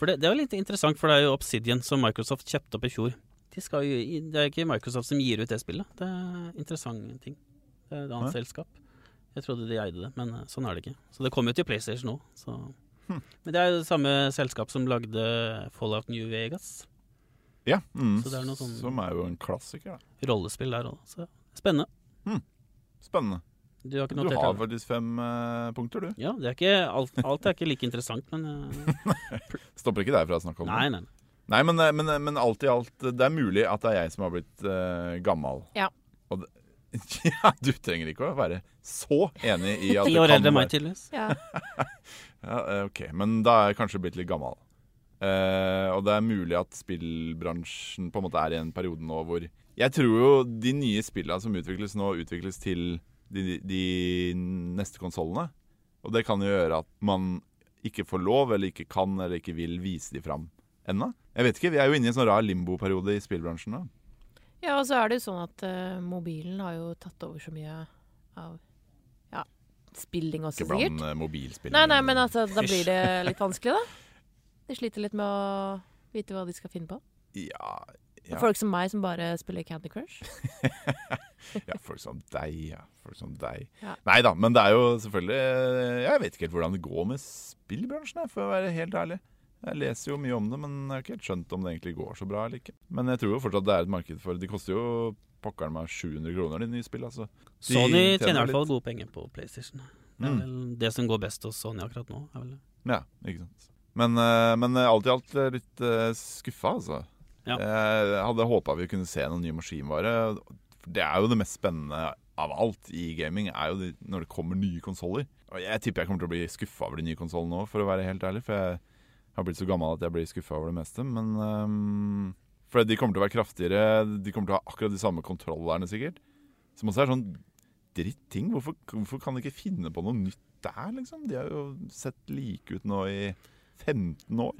For det, det var litt interessant, for det er jo Obsidian som Microsoft kjøpte opp i fjor. De skal jo, i- det er ikke Microsoft som gir ut det spillet. Det er interessante ting. Det er et annet Hæ? selskap. Jeg trodde de eide det, men eh, sånn er det ikke. Så det kommer jo til PlayStation nå. Så. Hm. Men det er jo det samme selskap som lagde Fallout New Vegas. ja. Mm. Så det er noe sånn- Som er jo en klassiker, da. Rollespill der òg, så spennende. Spennende. Du har ikke Du notert har det? faktisk fem eh, punkter, du. Ja, det er ikke, alt, alt er ikke like interessant, men eh, Stopper ikke deg fra å snakke om det. Nei, nei. nei. Nei, men, eh, men, men alt i alt, eh, det er mulig at det er jeg som har blitt eh, gammel. Ja. Og det, ja, du trenger ikke å være så enig i at Ti det år kan eldre enn meg, være- tydeligvis. Ja. Ja, eh, ok, men da er jeg kanskje blitt litt gammel. Eh, og det er mulig at spillbransjen på en måte er i en periode nå hvor Jeg tror jo de nye spillene som utvikles nå, utvikles til de, de neste konsollene. Og det kan jo gjøre at man ikke får lov, eller ikke kan, eller ikke vil vise de fram ennå. Jeg vet ikke, Vi er jo inne i en sånn rar limboperiode i spillbransjen nå. ja, og så er det jo sånn at eh, mobilen har jo tatt over så mye av ja, spilling også, Ikke sikkert. blant eh, mobilspill. Nei, nei, men altså, da blir det litt vanskelig, da. De sliter litt med å vite hva de skal finne på. ja, Ja. Folk som meg, som bare spiller Candy Crush. ja, folk som deg, ja. Folk som deg. Ja. Nei da, men det er jo selvfølgelig eh, Jeg vet ikke helt hvordan det går med spillbransjen, jeg, for å være helt ærlig. Jeg leser jo mye om det, men jeg har ikke helt skjønt om det egentlig går så bra eller ikke. Men jeg tror jo fortsatt det er et marked for De koster jo pokkeren meg 700 kroner, de nye spill, altså. De Sony tjener i tjener hvert fall gode penger på PlayStation. Det er Mm. vel det som går best hos Sony akkurat nå. Er vel. det. Ja, ikke sant. Men, eh, men alt i alt eh, litt eh, skuffa, altså. Ja. Jeg hadde håpa vi kunne se noen ny maskinvare. For Det er jo det mest spennende av alt i gaming, er jo det, når det kommer nye konsoller. Og jeg tipper jeg kommer til å bli skuffa over de nye konsollene nå, for å være helt ærlig. For jeg har blitt så gammel at jeg blir skuffa over det meste. Men ehm, For de kommer til å være kraftigere, de kommer til å ha akkurat de samme kontrollerne, sikkert. Som også er sånn dritting. Hvorfor, hvorfor kan de ikke finne på noe nytt der, liksom? De har jo sett like ut nå i 15 år.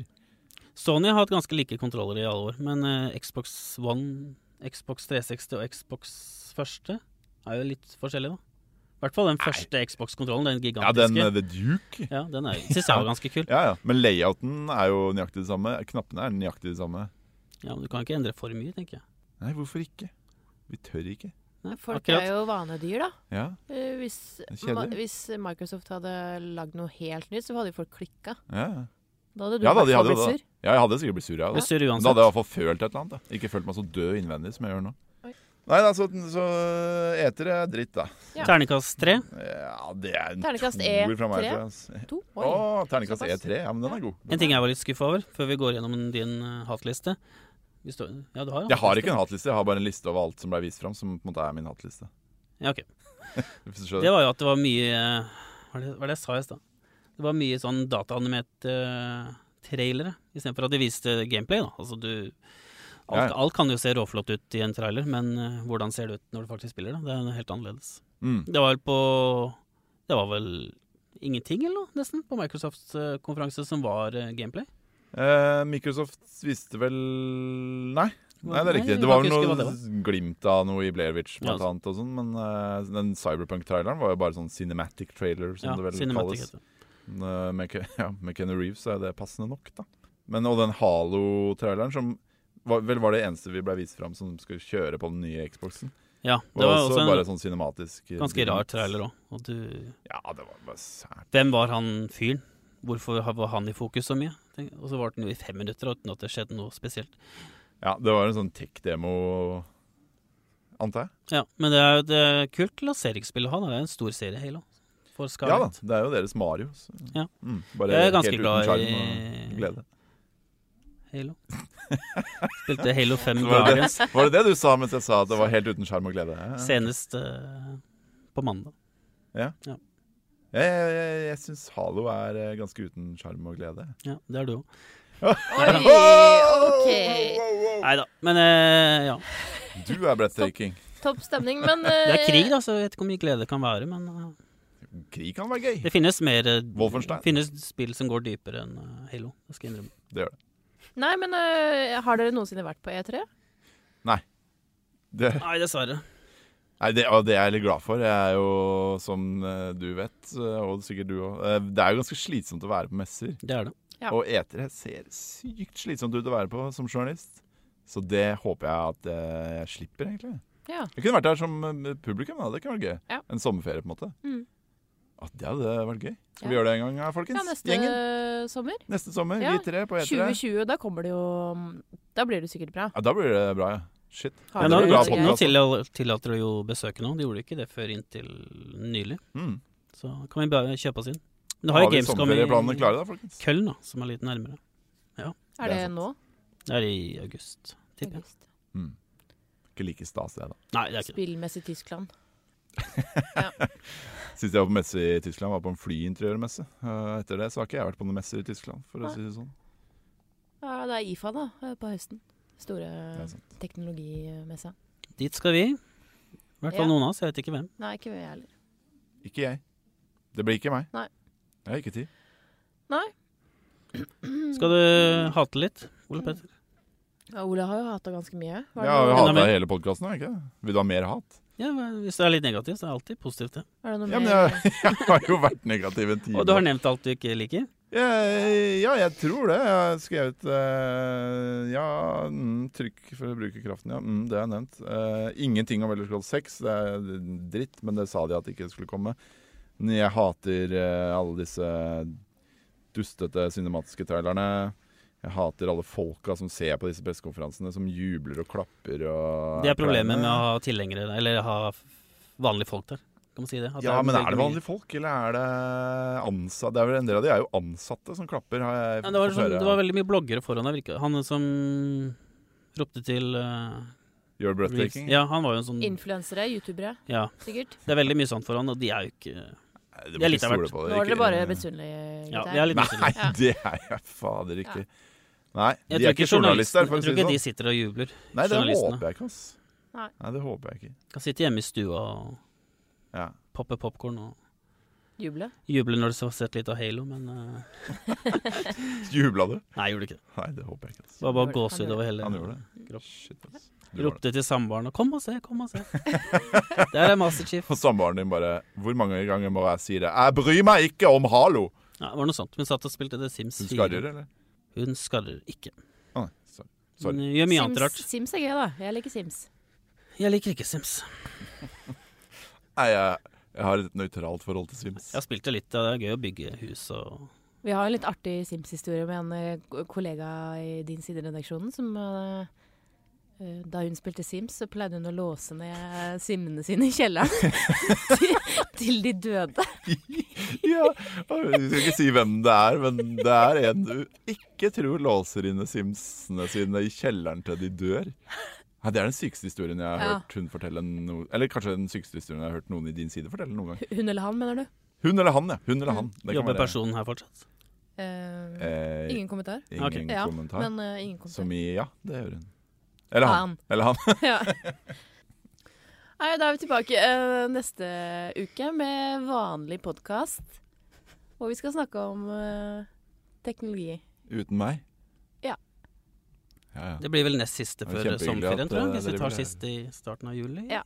Sony har hatt ganske like kontroller i alle år, men eh, Xbox One, Xbox 360 og Xbox første er jo litt forskjellige, da. I hvert fall den første Xbox-kontrollen, den Ja, den eh, gigantiske. The Duke. Ja, den er, synes jeg var ganske kul. Ja, ja. Men layouten er jo nøyaktig det samme. Knappene er nøyaktig det samme. Ja, men Du kan ikke endre for mye, tenker jeg. Nei, hvorfor ikke? Vi tør ikke. Nei, Folk akkurat. er jo vanedyr, da. Ja, Eh, Hvis, Det er kjedelig. Ma- hvis Microsoft hadde lagd noe helt nytt, så hadde jo folk klikka. ja. ja. Da hadde du Ja da, vært de hadde jo blitt det. sur. ja jeg hadde sikkert blitt sur, jeg Jeg òg. er Da sur hadde uansett. jeg i hvert fall følt et eller annet. Da. Ikke følt meg så død innvendig som jeg gjør nå. Oi. Nei, da, så, så eter jeg dritt, da. Ja. Terningkast tre. Ja, det er en Terningkast toer fra E3. meg. tror jeg, altså. To? Å, Oi. terningkast Såpass. E3. Ja, men den er god. En ting jeg var litt skuffa over, før vi går gjennom din eh, hatliste. Vi står, ja, du har jo Jeg har ikke hatliste. en hatliste, jeg har bare en liste over alt som ble vist fram, som på en måte er min hatliste. Ja, ok. Hvis du skjønner. Det var jo at det var mye eh, Hva var det, hva var det jeg sa i stad? Det var mye sånn dataanimert uh, trailere, istedenfor at de viste gameplay, da. Altså du Alt, Ja, ja. alt kan jo se råflott ut i en trailer, men eh, hvordan ser det ut når du faktisk spiller, da? Det er helt annerledes. Mm. Det var vel på Det var vel ingenting, eller noe, nesten, på Microsofts eh, konferanse som var eh, gameplay. Eh, Microsoft visste vel Nei, nei, det er riktig. jeg Det var kan vel ikke huske hva det noe var. glimt av noe i Blairwich Ja, blant altså. annet og sånn, men eh, den Cyberpunk-traileren var jo bare sånn cinematic trailer, som Ja, det vel Cinematic altså. kalles. heter det. Eh, Med, Ke- ja, med Keanu Reeves så er det passende nok, da. Men, og den Halo-traileren, som var, vel var det eneste vi ble vist fram som skulle kjøre på den nye Xboxen. Ja, det Var var også, også en bare sånn cinematisk eh, ganske rar glimt. trailer òg. Og du Ja, det var bare sært. Hvem var han fyren? Hvorfor ha- var han i fokus så mye? Tenk- Og så var den jo i fem minutter uten at det skjedde noe spesielt. Ja, det var en sånn tech-demo, antar jeg. Ja, Men det er jo et eh, kult lanseringsspill å ha. da. Det er en stor serie, Halo. Ja For da, Scarlett. det er jo deres Mario. Så. Ja. Mm, bare Jeg er helt ganske uten glad sjarm og i glede. Halo. Spilte Halo 5 Så var det- Guardians Var det det du sa mens jeg sa at det var helt uten skjerm og glede? Ja, ja. senest eh, på mandag. Jeg, jeg, jeg, jeg syns Halo er eh, ganske uten sjarm og glede. Ja, det er du òg. Oi, OK. Nei da. Men eh, ja. Du er breathtaking. Topp stemning, men eh, Det er krig, da, så jeg vet ikke hvor mye glede det kan være. Men eh, Krig kan være gøy. det finnes mer eh, Wolfenstein. finnes spill som går dypere enn eh, Halo. Det skal jeg innrømme. Nei, men eh, har dere noensinne vært på E3? Det, Nei, dessverre. nei, det, og det er jeg litt glad for. Jeg er jo, som eh, du vet, eh, og sikkert du òg Det er jo ganske slitsomt å være på messer. Det er det. Ja. Og etere ser sykt slitsomt ut å være på som journalist. Så det håper jeg at eh, jeg slipper, egentlig. Ja. Jeg kunne vært der som eh, publikum. da, Det kunne vært gøy. Ja. En sommerferie, på en måte. Mm. At det hadde vært gøy. Skal vi Ja. gjøre det en gang, her, folkens? ja, neste Gjengen. sommer. Neste sommer, Ja, vi tre på etere. 2020, da kommer det jo Da blir det sikkert bra. Ja, da blir det bra, ja. Shit. Har Men det nå, dere blir bra noe nå podcast. tilla- tillater du jo besøk nå. De gjorde ikke det før inntil nylig. Mm. Så kan vi bare kjøpe oss inn. Men du Har har jo vi Gamescom sommerferieplanene i klare, da, folkens? Køln, da, som er litt nærmere. Er Det det er nå? Det er i august, tipper jeg. August. Mm. Ikke like stas, det, da. Nei, det er ikke det. Spillmessig Tyskland. Sist jeg var på messe i Tyskland, var på en flyinteriørmesse. Eh, Etter det så har ikke jeg vært på noen messer i Tyskland, for å Nei. si det sånn. Ja, det er IFA, da, eh, på høsten. Store Det er sant. teknologimessa. Dit skal vi. I hvert fall Ja. noen av oss. Jeg vet ikke hvem. Nei, ikke vi heller. Ikke jeg. Det blir ikke meg. Nei. Jeg har ikke tid. Mm. Skal du hate litt, Ole Petter? Ja, Ola har jo hata ganske mye. Var Jeg det, har jo noe, hatt- hata men- hele podkasten, har jeg ikke det? Vil du ha mer hat? Ja, men hvis det er litt negativt, så er det alltid positivt, det. var det noe Ja, men mer? jeg, jeg har jo vært negativ en time. Og du har nevnt alt du ikke liker. Jeg- Ja, jeg tror det. Jeg har skrevet eh, Ja, mm, trykk for å bruke kraften, ja. Mm, det har jeg nevnt. Eh, ingenting om Elder Scrolls 6. Det er dritt, men det sa de at ikke skulle komme. Men Jeg hater eh, alle disse dustete cinematiske trailerne. Jeg hater alle folka som ser på disse pressekonferansene, som jubler og klapper og Det er problemet med pleierne. å ha tilhengere, eller ha f- vanlige folk der. Kan man si det? At Ja, men er det veldig mye- vanlige folk, eller er det ansatte? Det er vel En del av de er jo ansatte som klapper, har jeg Ja, det, var fått sånn, høre. det var veldig mye bloggere foran deg. virket- Han som ropte til eh, Gjør det Reeves. breathtaking? Ja, han var jo en sånn Influensere, youtubere, Ja, sikkert. det er veldig mye sånt foran, og de er jo ikke Nei, Det er litt av hvert. på Nå er dere Ikke- bare misunnelige, Ja, gutter. vi er litt Nei, misunnelige. Ja. det er jeg fader ikke. Nei, Jeg de er tror ikke journalister, ikke for journalisten- å Jeg si tror ikke de det sånn. sitter og jubler. Nei, det journalistene. håper jeg ikke, ass. Nei. Nei, det håper jeg ikke. Kan sitte hjemme i stua og Ja. poppe popkorn og Juble. juble når du har sett litt av Halo, men eh, Jubla du? Nei, gjorde ikke det. Nei, det håper jeg ikke. ass. Det var bare Han gjorde det. gåsehud over hele Han gjorde det. Kropp. Shit, ass. Du var det. Ropte til samboeren og 'kom og se, kom og se'. Der er Master Chief. Og samboeren din bare Hvor mange ganger må jeg si det? Jeg bryr meg ikke om Halo! Ja, det var noe sånt. Hun satt og spilte The Sims Hun 4. skarrer, eller? Hun skarrer ikke. Å, nei, sorry. Hun sorry. gjør mye annet Sims, rart. Sims er gøy, da. Jeg liker Sims. Jeg liker ikke Sims. Nei, jeg, jeg har et nøytralt forhold til Sims. Jeg har spilt det litt, og det er gøy å bygge hus og Vi har en litt artig Sims-historie med en eh, ko- kollega i din side av redaksjonen som eh, eh, da hun spilte Sims, så pleide hun å låse ned simmene sine i kjelleren til, til de døde. Ja, og Vi skal ikke si hvem det er, men det er en du ikke tror låser inne simsene sine i kjelleren til de dør. Nei, det er den sykeste historien jeg har Ja. hørt hun fortelle no Eller kanskje den sykeste historien jeg har hørt noen i din side fortelle noen gang. Hun eller han, mener du? Hun eller han, ja. Hun eller han. Det kan Jobber være- personen her fortsatt? Eh, Eh, ingen ingen kommentar? Ok. Ja, kommentar. Men eh, ingen kommentar. Som i ja, det gjør hun. Eller han. Han. Eller han. Ja. Nei, da er vi tilbake eh, neste uke med vanlig podkast, hvor vi skal snakke om eh, teknologi. Uten meg. Ja. ja, ja. Det blir vel nest siste Det er før kjempehyggelig sommerferien, at, tror jeg. eh, Hvis vi dere tar vil- siste i starten av juli. Ja.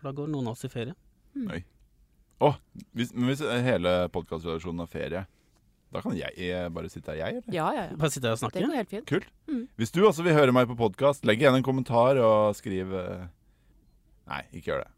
For da går noen av oss i ferie. Hvis, men hvis hele podkastredaksjonen har ferie, da kan jeg eh, bare sitte her, jeg, eller? Ja, ja, ja. Bare sitte her og Det snakke. går helt fint. Kult. Mm. Hvis du også vil høre meg på podkast, legg igjen en kommentar og skriv eh, Nei, ikke gjør det.